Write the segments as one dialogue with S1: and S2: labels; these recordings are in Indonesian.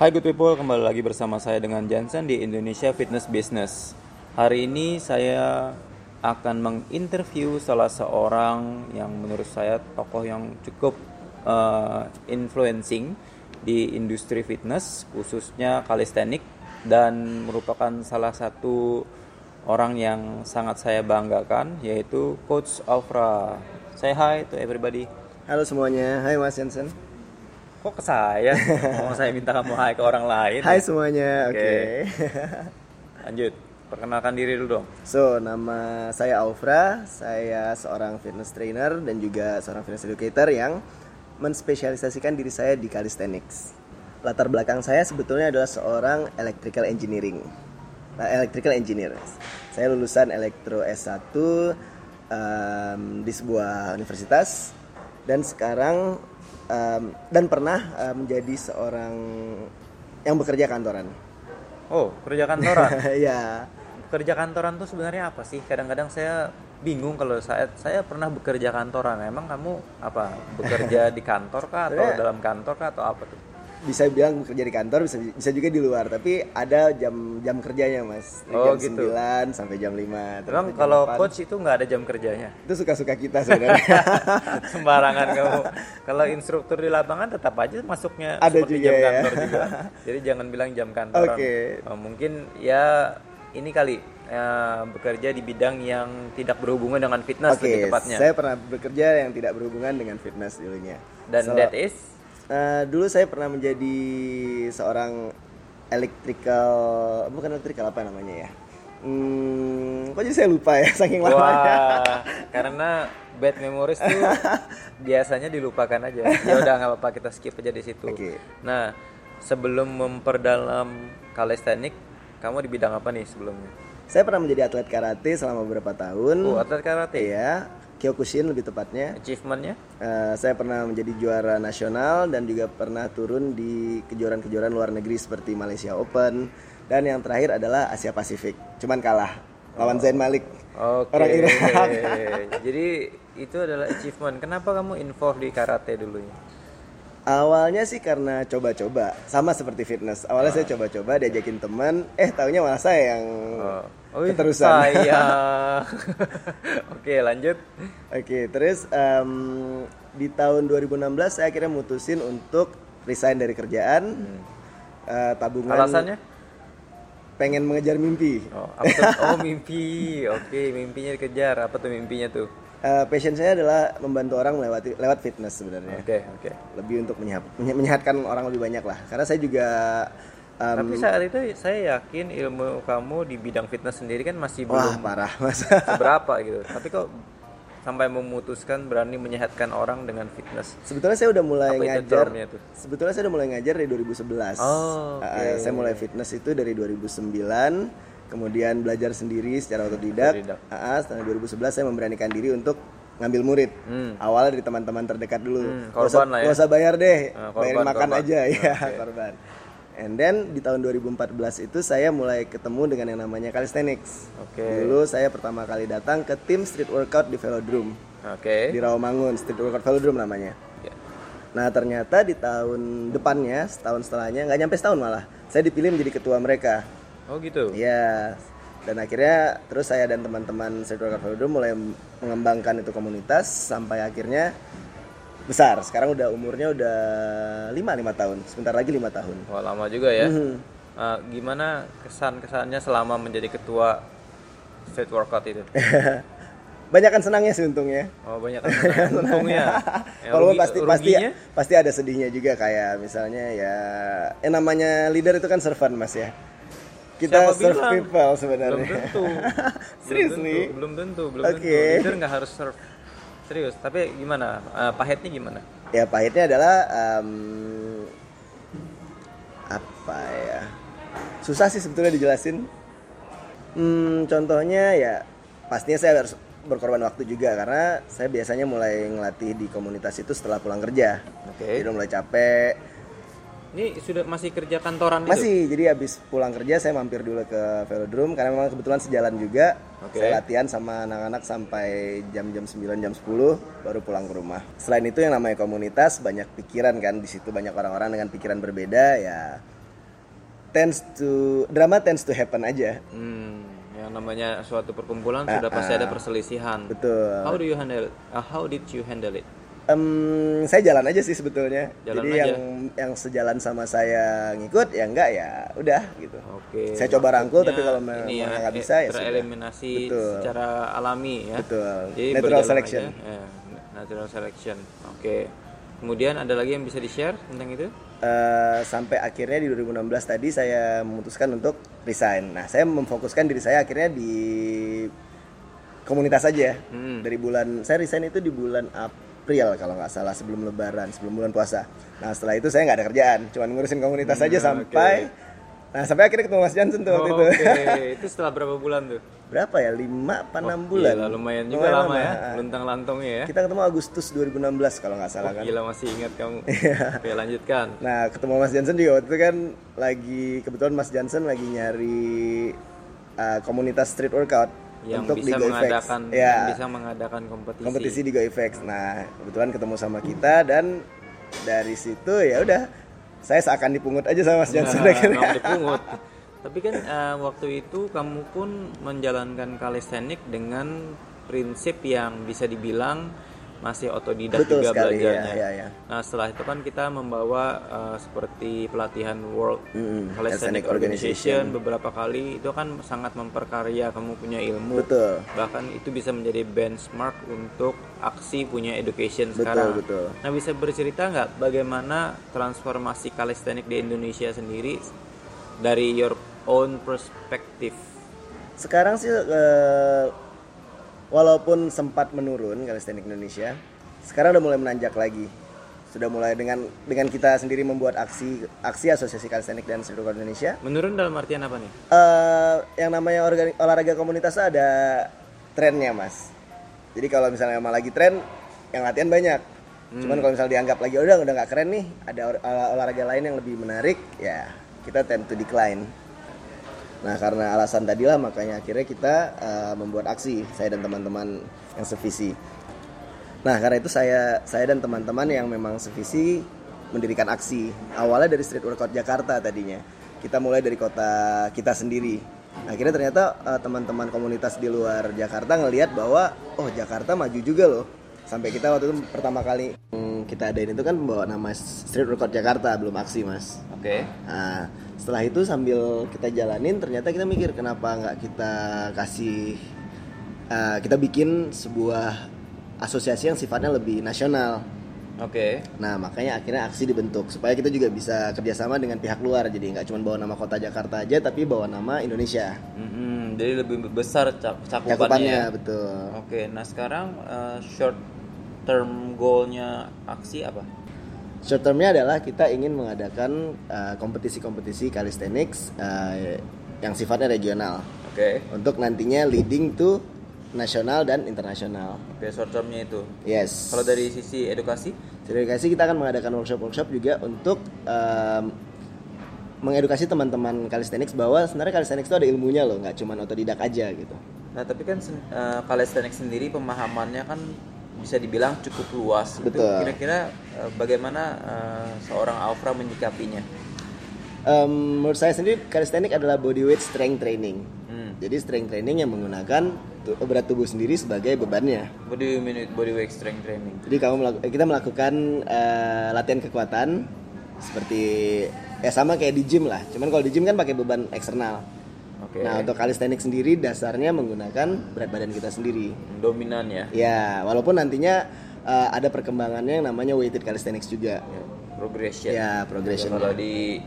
S1: Hai good people, kembali lagi bersama saya dengan Jansen di Indonesia Fitness Business. Hari ini saya akan menginterview salah seorang yang menurut saya tokoh yang cukup eh, influencing di industri fitness, khususnya kalistenik dan merupakan salah satu orang yang sangat saya banggakan yaitu Coach Alfra. Say hi to everybody.
S2: Halo semuanya, hai Mas Jensen.
S1: Kok ke saya? Mau saya minta kamu hai ke orang lain? ya?
S2: Hai semuanya, oke.
S1: Iya. Oke. Lanjut, perkenalkan diri dulu dong.
S2: so, nama saya Alfra, saya seorang fitness trainer dan juga seorang fitness educator yang menspesialisasikan diri saya di calisthenics. Latar belakang saya sebetulnya adalah seorang electrical engineering. Nah, electrical engineer. Saya lulusan elektro S1 em, di sebuah universitas dan sekarang em, dan pernah eh, menjadi seorang yang bekerja kantoran.
S1: Oh, kerja kantoran.
S2: ya,
S1: kerja kantoran tuh sebenarnya apa sih? Kadang-kadang saya bingung kalau saya saya pernah bekerja kantoran. Emang kamu apa? Bekerja di kantor kah atau
S2: Sebenarnya-
S1: dalam kantor kah atau apa tuh?
S2: bisa bilang bekerja di kantor, bisa bisa juga di luar, tapi ada jam jam kerjanya, Mas. Dari
S1: Oh,
S2: jam
S1: gitu.
S2: 9 sampai jam 5. terus
S1: Emang
S2: jam
S1: kalau
S2: 8.
S1: coach itu nggak ada jam kerjanya.
S2: itu suka-suka kita sebenarnya.
S1: Sembarangan kamu. Kalau instruktur di lapangan tetap aja masuknya
S2: Ada
S1: seperti
S2: juga
S1: jam
S2: ya.
S1: kantor juga. Jadi jangan bilang jam kantoran.
S2: Oke.
S1: Eh, Mungkin ya ini kali eh, bekerja di bidang yang tidak berhubungan dengan fitness lebih
S2: Oke,
S1: tepatnya.
S2: saya pernah bekerja yang tidak berhubungan dengan fitness dulunya.
S1: Dan
S2: So,
S1: that is
S2: eh, dulu saya pernah menjadi seorang electrical bukan electrical apa namanya ya? Hmm, kok jadi saya lupa ya saking lamanya.
S1: Wah, karena bad memories tuh biasanya dilupakan aja. Ya udah nggak apa-apa kita skip aja di situ.
S2: Oke.
S1: Nah, sebelum memperdalam calisthenics, kamu di bidang apa nih sebelumnya?
S2: Saya pernah menjadi atlet karate selama beberapa tahun.
S1: Oh, atlet karate.
S2: ya, Kyokushin lebih tepatnya.
S1: Achievementnya?
S2: Eh, saya pernah menjadi juara nasional dan juga pernah turun di kejuaraan-kejuaraan luar negeri seperti Malaysia Open dan yang terakhir adalah Asia Pasifik. Cuman kalah lawan Zain Malik.
S1: Oke.
S2: Orang Irak.
S1: Jadi itu adalah achievement. Kenapa kamu involve di karate dulunya?
S2: Awalnya sih karena coba-coba, sama seperti fitness. Awalnya saya coba-coba diajakin teman, eh taunya malah saya yang
S1: Oh, iya,
S2: keterusan.
S1: Saya. Oke, lanjut.
S2: Oke, terus em, di tahun 2016 saya akhirnya mutusin untuk resign dari kerjaan. Eh, tabungan
S1: Alasannya?
S2: pengen mengejar mimpi.
S1: Oh, apa tuh? Oh, mimpi. Oke, mimpinya dikejar. Apa tuh mimpinya tuh?
S2: Eh, passion saya adalah membantu orang melewati lewat fitness sebenarnya.
S1: Oke, oke.
S2: Lebih untuk menyehat, menye- menyehatkan orang lebih banyak lah. Karena saya juga eh, em,
S1: Tapi saat itu saya yakin ilmu kamu di bidang fitness sendiri kan masih
S2: wah
S1: belum
S2: parah mas.
S1: seberapa gitu. Tapi kok sampai memutuskan berani menyehatkan orang dengan fitness.
S2: Sebetulnya saya udah mulai
S1: Apa itu
S2: ngajar.
S1: termnya tuh?
S2: Sebetulnya saya udah mulai ngajar dari 2011.
S1: Oh,
S2: Eh, saya mulai fitness itu dari 2009. Kemudian belajar sendiri secara otodidak.
S1: Otodidak.
S2: Ah, ah, setelah 2011 saya memberanikan diri untuk ngambil murid. Awalnya dari teman-teman terdekat dulu.
S1: Hmm,
S2: Nggak usah-
S1: korban lah ya.
S2: nggak usah bayar deh,
S1: Ah, korban,
S2: bayarin makan
S1: korban.
S2: aja ya korban. And then di tahun 2014 itu saya mulai ketemu dengan yang namanya calisthenics.
S1: Oke.
S2: Dulu saya pertama kali datang ke tim street workout di Velodrome di
S1: Oke.
S2: Rawamangun, street workout Velodrome namanya.
S1: Ya.
S2: Nah ternyata di tahun depannya, setahun setelahnya, nggak nyampe setahun malah, saya dipilih menjadi ketua mereka.
S1: Oh gitu.
S2: Ya, dan akhirnya terus saya dan teman-teman Circle Carvalho dulu mulai mengembangkan itu komunitas sampai akhirnya besar. Sekarang udah umurnya udah 5-5 tahun, sebentar lagi lima tahun.
S1: Wah, lama juga ya.
S2: Mm-hmm.
S1: Eh, gimana kesan-kesannya selama menjadi ketua street workout itu?
S2: Banyak kan senangnya sih untungnya.
S1: Oh, banyak kesan- untungnya. Yang
S2: Walaupun
S1: Eh, rugi-
S2: Nah, pasti pasti ya.
S1: ruginya?
S2: pasti ada sedihnya juga kayak misalnya ya eh namanya leader itu kan servant Mas ya. Kita
S1: Siapa
S2: serve
S1: bilang?
S2: people
S1: belum
S2: sebenarnya.
S1: tentu belum tentu
S2: Seriously?
S1: belum tentu belum
S2: Oke.
S1: tentu leader nggak harus serve serius tapi gimana Eh, pahitnya gimana
S2: ya pahitnya adalah em, apa ya susah sih sebetulnya dijelasin Hmm, contohnya ya pastinya saya harus berkorban waktu juga karena saya biasanya mulai ngelatih di komunitas itu setelah pulang kerja
S1: oke
S2: jadi udah mulai capek
S1: ini sudah masih kerja kantoran itu
S2: masih jadi habis pulang kerja saya mampir dulu ke velodrome karena memang kebetulan sejalan juga
S1: Oke.
S2: saya latihan sama anak-anak sampai jam-jam 9 jam 10 baru pulang ke rumah selain itu yang namanya komunitas banyak pikiran kan di situ banyak orang-orang dengan pikiran berbeda ya tends to drama tends to happen aja.
S1: Hmm, yang namanya suatu perkumpulan sudah pasti ada perselisihan.
S2: Ah, Betul.
S1: How do you handle? it? Uh, how did you handle it?
S2: Em, saya jalan aja sih sebetulnya.
S1: Jalan
S2: Jadi
S1: aja.
S2: yang yang sejalan sama saya ngikut ya enggak ya udah gitu.
S1: Oke.
S2: Saya coba rangkul, tapi
S1: maksudnya
S2: kalau memang
S1: ini ya,
S2: nggak
S1: eh,
S2: bisa, ya sudah.
S1: tereliminasi
S2: Betul.
S1: secara alami ya.
S2: Betul.
S1: Jadi
S2: Natural
S1: berjalan
S2: selection.
S1: aja. Eh, natural selection. Oke. Kemudian ada lagi yang bisa di share tentang itu?
S2: Eh, sampai akhirnya di 2016 tadi saya memutuskan untuk resign. Nah, saya memfokuskan diri saya akhirnya di komunitas aja. ya.
S1: Hmm.
S2: Dari bulan saya resign itu di bulan April kalau nggak salah sebelum Lebaran, sebelum bulan puasa. Nah, setelah itu saya nggak ada kerjaan, cuman ngurusin komunitas aja sampai Nah, sampai akhirnya ketemu Mas Johnson tuh waktu
S1: Oke.
S2: itu.
S1: itu setelah berapa bulan tuh?
S2: Berapa ya? 5 apa 6 bulan?
S1: Gila, lumayan juga
S2: Lumayan
S1: lama ya,
S2: Ah.
S1: luntang lantungnya ya.
S2: Kita ketemu Agustus 2016 kalau nggak salah kan. Iya.
S1: Gila masih ingat kamu. Oke, lanjutkan.
S2: Nah, ketemu Mas Johnson juga waktu itu kan lagi kebetulan Mas Johnson lagi nyari uh, komunitas street workout
S1: Yang
S2: untuk
S1: bisa
S2: di Go
S1: mengadakan
S2: Effects. Ya,
S1: yang bisa mengadakan kompetisi.
S2: kompetisi di Go Effects. Nah, kebetulan ketemu sama kita dan dari situ ya udah saya seakan dipungut aja sama Mas Johnson
S1: Nah,
S2: akhirnya.
S1: memang dipungut. Tapi kan eh, waktu itu kamu pun menjalankan kalistenik dengan prinsip yang bisa dibilang masih otodidak
S2: Betul
S1: juga
S2: sekali ya,
S1: belajarnya.
S2: ya, ya.
S1: Nah setelah itu kan kita membawa eh, seperti pelatihan World
S2: Mm-mm,
S1: Calisthenic
S2: Calisthenic
S1: Organization beberapa kali itu kan sangat memperkarya kamu punya ilmu
S2: Betul.
S1: bahkan itu bisa menjadi benchmark untuk aksi punya education
S2: Betul,
S1: sekarang.
S2: betul.
S1: Nah bisa bercerita nggak bagaimana transformasi kalistenik di Indonesia sendiri dari your own perspective?
S2: Sekarang sih eh, walaupun sempat menurun kalistenik Indonesia, sekarang udah mulai menanjak lagi. Sudah mulai dengan dengan kita sendiri membuat aksi aksi asosiasi kalistenik dan street workout Indonesia
S1: Menurun dalam artian apa nih?
S2: eh yang namanya organi- olahraga komunitas tuh ada trennya mas jadi kalau misalnya emang lagi tren yang latihan banyak cuman kalau misalnya dianggap lagi udah udah nggak keren nih ada or- olah- olahraga lain yang lebih menarik ya kita tend to decline nah karena alasan tadilah makanya akhirnya kita eh, membuat aksi saya dan teman-teman yang sevisi Nah karena itu saya saya dan teman-teman yang memang sevisi mendirikan aksi awalnya dari street workout Jakarta tadinya kita mulai dari kota kita sendiri akhirnya ternyata eh, teman-teman komunitas di luar Jakarta ngelihat bahwa oh Jakarta maju juga loh sampai kita waktu itu pertama kali hmm, kita adain itu kan bawa nama street workout Jakarta belum aksi mas
S1: Oke.
S2: Nah, setelah itu sambil kita jalanin, ternyata kita mikir kenapa nggak kita kasih, eh, kita bikin sebuah asosiasi yang sifatnya lebih nasional.
S1: Oke.
S2: Nah, makanya akhirnya aksi dibentuk supaya kita juga bisa kerjasama dengan pihak luar. Jadi nggak cuma bawa nama kota Jakarta aja, tapi bawa nama Indonesia.
S1: Mhm, jadi lebih besar cak- cakupannya.
S2: Cakupannya betul.
S1: Oke. Nah sekarang eh, short term goalnya aksi apa?
S2: Short termnya adalah kita ingin mengadakan eh, kompetisi-kompetisi calisthenics eh, yang sifatnya regional.
S1: Oke.
S2: untuk nantinya leading to nasional dan internasional.
S1: Oke short termnya itu.
S2: Yes.
S1: Kalau dari sisi edukasi?
S2: Dari edukasi kita akan mengadakan workshop-workshop juga untuk em, mengedukasi teman-teman calisthenics bahwa sebenarnya calisthenics itu ada ilmunya loh, nggak cuma otodidak aja gitu.
S1: Nah, tapi kan sen- eh, calisthenics sendiri pemahamannya kan bisa dibilang cukup luas. Itu
S2: Betul.
S1: Kira-kira eh, bagaimana eh, seorang Alfra menyikapinya?
S2: Em, menurut saya sendiri calisthenics adalah bodyweight strength training.
S1: Hmm.
S2: Jadi strength training yang menggunakan tu- berat tubuh sendiri sebagai bebannya.
S1: What do you mean with body weight strength training?
S2: Jadi kamu melaku- kita melakukan eh, latihan kekuatan seperti ya sama kayak di gym lah. Cuman kalau di gym kan pakai beban eksternal.
S1: Oke.
S2: Nah untuk kalistenik sendiri dasarnya menggunakan berat badan kita sendiri.
S1: Dominan ya.
S2: Ya walaupun nantinya eh, ada perkembangannya yang namanya weighted calisthenics juga.
S1: Progression.
S2: Ya progression.
S1: Kalau di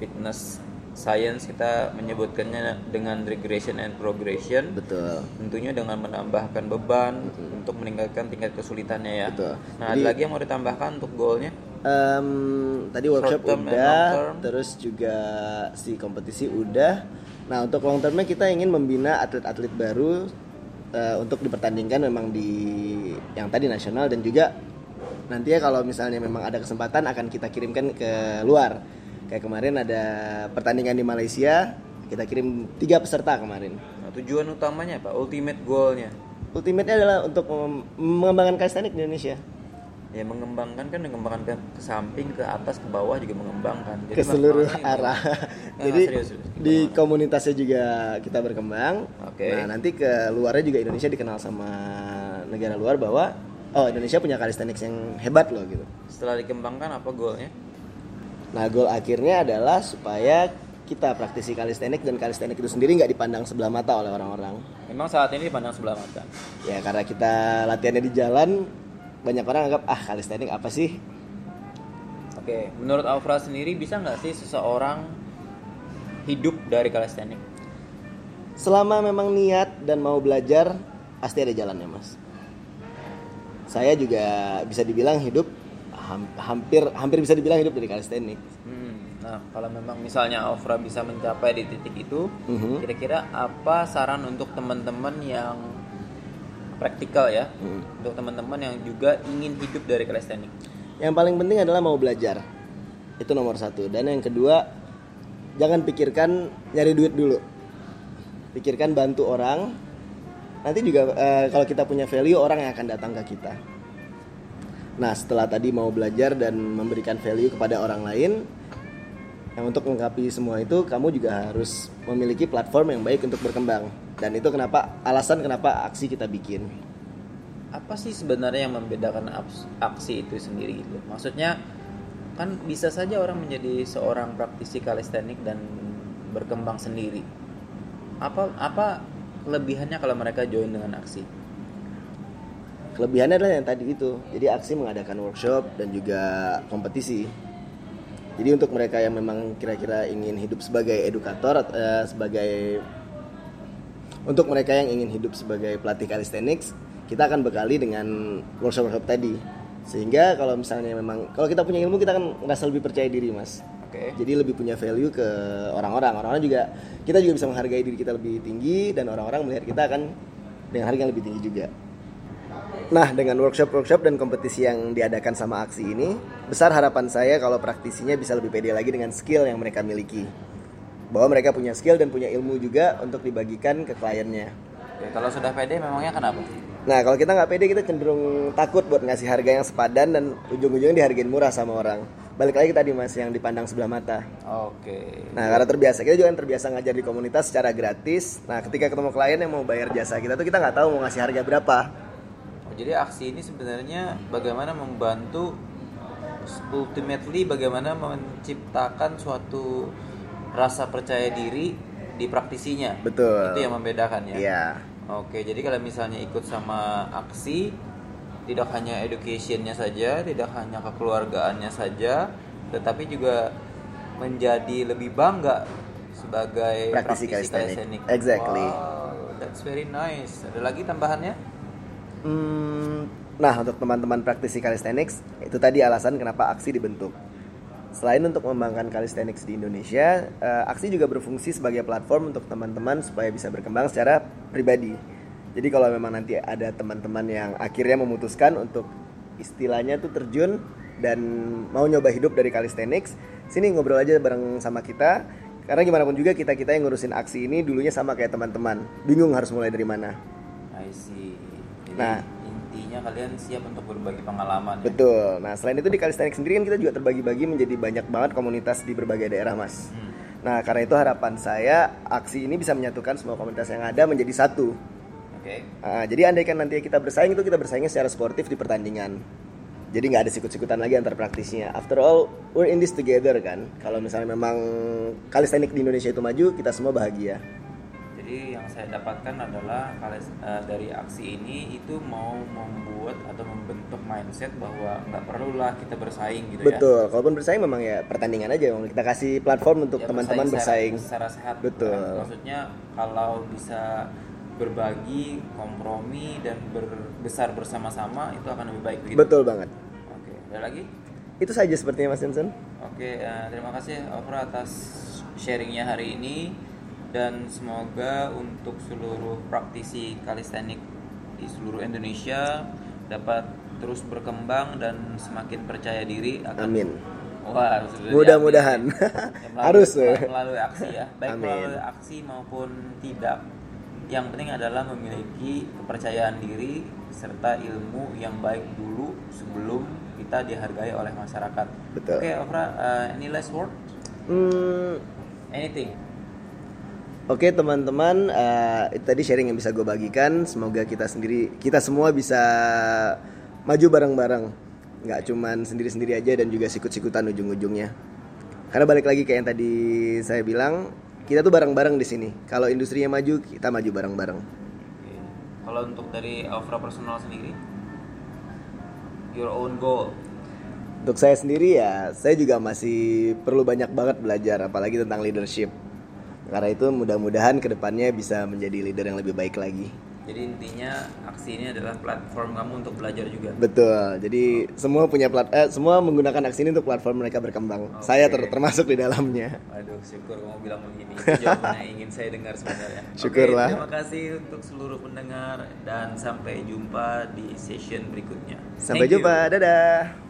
S1: fitness science kita menyebutkannya dengan regression and progression.
S2: Betul.
S1: Tentunya dengan menambahkan beban untuk meningkatkan tingkat kesulitannya ya.
S2: Betul.
S1: Nah, ada lagi yang mau ditambahkan untuk goalnya?
S2: Em, tadi workshop
S1: term and
S2: udah,
S1: long term.
S2: terus juga si kompetisi udah. Nah untuk long termnya kita ingin membina atlet-atlet baru eh, untuk dipertandingkan memang di yang tadi nasional dan juga nantinya kalau misalnya memang ada kesempatan akan kita kirimkan ke luar. Kayak kemarin ada pertandingan di Malaysia, kita kirim tiga peserta kemarin.
S1: Nah, tujuan utamanya apa? Ultimate goalnya.
S2: Ultimate-nya adalah untuk mem- mengembangkan calisthenics di Indonesia.
S1: ya mengembangkan kan mengembangkan ke, ke samping ke atas ke bawah juga mengembangkan
S2: ke
S1: mas-
S2: seluruh
S1: mas-
S2: arah.
S1: Nah,
S2: Jadi
S1: serius, serius.
S2: di komunitasnya juga kita berkembang.
S1: Oke.
S2: Nah, nanti ke luarnya juga Indonesia dikenal sama negara luar bahwa oh Indonesia punya calisthenics yang hebat loh gitu.
S1: setelah dikembangkan apa goalnya
S2: Nah, goal akhirnya adalah supaya kita praktisi calisthenics dan calisthenics itu sendiri nggak dipandang sebelah mata oleh orang-orang.
S1: memang saat ini dipandang sebelah mata
S2: Ya karena kita latihannya di jalan banyak orang anggap ah calisthenics apa sih?
S1: Oke, menurut Alfra sendiri bisa nggak sih seseorang hidup dari calisthenics?
S2: Selama memang niat dan mau belajar, pasti ada jalannya, Mas. Saya juga bisa dibilang hidup ham- hampir hampir bisa dibilang hidup dari kalistenik.
S1: Hmm, nah, kalau memang misalnya Alfra bisa mencapai di titik itu,
S2: Mhm.
S1: kira-kira apa saran untuk teman-teman yang praktikal ya? Untuk teman-teman yang juga ingin hidup dari calisthenics.
S2: Yang paling penting adalah mau belajar. Itu nomor satu. Dan yang kedua, jangan pikirkan nyari duit dulu. Pikirkan bantu orang. Nanti juga eh, kalau kita punya value, orang yang akan datang ke kita. Nah, setelah tadi mau belajar dan memberikan value kepada orang lain, yang untuk melengkapi semua itu, kamu juga harus memiliki platform yang baik untuk berkembang. Dan itu kenapa alasan kenapa aksi kita bikin.
S1: Apa sih sebenarnya yang membedakan abs- aksi itu sendiri gitu? Maksudnya kan bisa saja orang menjadi seorang praktisi calisthenics dan berkembang sendiri. Apa apa kelebihannya kalau mereka join dengan aksi?
S2: Kelebihannya adalah yang tadi itu. Jadi aksi mengadakan workshop dan juga kompetisi. Jadi untuk mereka yang memang kira-kira ingin hidup sebagai edukator at- eh, sebagai untuk mereka yang ingin hidup sebagai pelatih calisthenics, kita akan bekali dengan workshop-workshop tadi. Sehingga kalau misalnya memang kalau kita punya ilmu kita akan merasa lebih percaya diri, Mas.
S1: Oke.
S2: Jadi lebih punya value ke orang-orang. Orang-orang juga kita juga bisa menghargai diri kita lebih tinggi dan orang-orang melihat kita akan dengan harga yang lebih tinggi juga. Nah, dengan workshop-workshop dan kompetisi yang diadakan sama aksi ini, besar harapan saya kalau praktisinya bisa lebih pede lagi dengan skill yang mereka miliki. Bahwa mereka punya skill dan punya ilmu juga untuk dibagikan ke kliennya.
S1: Oke, kalau sudah pede memangnya kenapa?
S2: Nah, kalau kita nggak pede, kita cenderung takut buat ngasih harga yang sepadan dan ujung-ujungnya dihargain murah sama orang. Balik lagi tadi mas, yang dipandang sebelah mata.
S1: Oke. Oh,
S2: Nah, karena terbiasa kita juga kan terbiasa ngajar di komunitas secara gratis. Nah, ketika ketemu klien yang mau bayar jasa kita tuh kita nggak tahu mau ngasih harga berapa.
S1: Oh, Jadi aksi ini sebenarnya bagaimana membantu ultimately bagaimana menciptakan suatu rasa percaya diri di praktisinya.
S2: Betul.
S1: Itu yang membedakan ya.
S2: Iya.
S1: Oke, jadi kalau misalnya ikut sama aksi tidak hanya educationnya saja, tidak hanya kekeluargaannya saja, tetapi juga menjadi lebih bangga sebagai
S2: Praktisi calisthenics.
S1: calisthenics.
S2: Exactly.
S1: Wow, that's very nice. Ada lagi tambahannya?
S2: Hmm, nah, untuk teman-teman praktisi calisthenics, itu tadi alasan kenapa aksi dibentuk. Selain untuk mengembangkan calisthenics di Indonesia, eh, aksi juga berfungsi sebagai platform untuk teman-teman supaya bisa berkembang secara pribadi. Jadi kalau memang nanti ada teman-teman yang akhirnya memutuskan untuk istilahnya tuh terjun dan mau nyoba hidup dari calisthenics, sini ngobrol aja bareng sama kita. Karena gimana pun juga kita-kita yang ngurusin aksi ini dulunya sama kayak teman-teman, bingung harus mulai dari mana.
S1: I see. Jadi
S2: Nah.
S1: intinya kalian siap untuk berbagi pengalaman. ya?
S2: Betul. Nah, selain itu di Calisthenics sendiri kan kita juga terbagi-bagi menjadi banyak banget komunitas di berbagai daerah, Mas.
S1: Hmm.
S2: Nah, karena itu harapan saya aksi ini bisa menyatukan semua komunitas yang ada menjadi satu.
S1: Oke.
S2: Ah, jadi andaikan nanti kita bersaing itu kita bersaingnya secara sportif di pertandingan. Jadi nggak ada sikut-sikutan lagi antar praktisinya. After all, we're in this together kan. Kalau misalnya memang Calisthenics di Indonesia itu maju, kita semua bahagia.
S1: Jadi yang saya dapatkan adalah kalis- eh, dari aksi ini itu mau membuat atau membentuk mindset bahwa nggak perlulah kita bersaing gitu ya.
S2: Betul. Kalaupun bersaing memang ya pertandingan aja. Memang Kita kasih platform untuk
S1: Ya,
S2: teman-teman bersaing.
S1: secara, secara sehat.
S2: Betul.
S1: Kan? Maksudnya kalau bisa berbagi, kompromi dan berbesar bersama-sama itu akan lebih baik. Gitu.
S2: Betul banget.
S1: Oke. Ada lagi?
S2: Itu saja sepertinya Mas Jensen.
S1: Oke, eh, terima kasih Ofra atas sharingnya hari ini dan semoga untuk seluruh praktisi kalistenik di seluruh Indonesia dapat terus berkembang dan semakin percaya diri akan
S2: Amin.
S1: Wah, sudah
S2: Mudah-mudahan.
S1: diambil. Ya, melalui-
S2: Harus, ya.
S1: melalui aksi ya, baik
S2: Amin.
S1: melalui aksi maupun tidak. yang penting adalah memiliki kepercayaan diri serta ilmu yang baik dulu sebelum kita dihargai oleh masyarakat.
S2: Betul.
S1: Oke, Ofra, uh, any last word?
S2: Hmm,
S1: Anything?
S2: Oke teman-teman, eh, itu tadi sharing yang bisa gue bagikan. Semoga kita sendiri, kita semua bisa maju bareng-bareng, nggak cuman sendiri-sendiri aja dan juga sikut-sikutan ujung-ujungnya. Karena balik lagi kayak yang tadi saya bilang, kita tuh bareng-bareng di sini. Kalau industrinya maju, kita maju bareng-bareng.
S1: Oke. Kalau untuk dari Ofra personal sendiri, your own goal.
S2: Untuk saya sendiri ya, saya juga masih perlu banyak banget belajar, apalagi tentang leadership. Karena itu mudah-mudahan kedepannya bisa menjadi leader yang lebih baik lagi.
S1: Jadi intinya aksi ini adalah platform kamu untuk belajar juga.
S2: Betul. Jadi semua punya plat eh, semua menggunakan aksi ini untuk platform mereka berkembang. Saya ter- termasuk di dalamnya.
S1: Aduh, syukur kamu bilang begini. Itu jawaban yang ingin saya dengar sebenarnya. Oke,
S2: Syukurlah.
S1: terima kasih untuk seluruh pendengar dan sampai jumpa di session berikutnya.
S2: Sampai
S1: Thank you.
S2: jumpa. Dadah.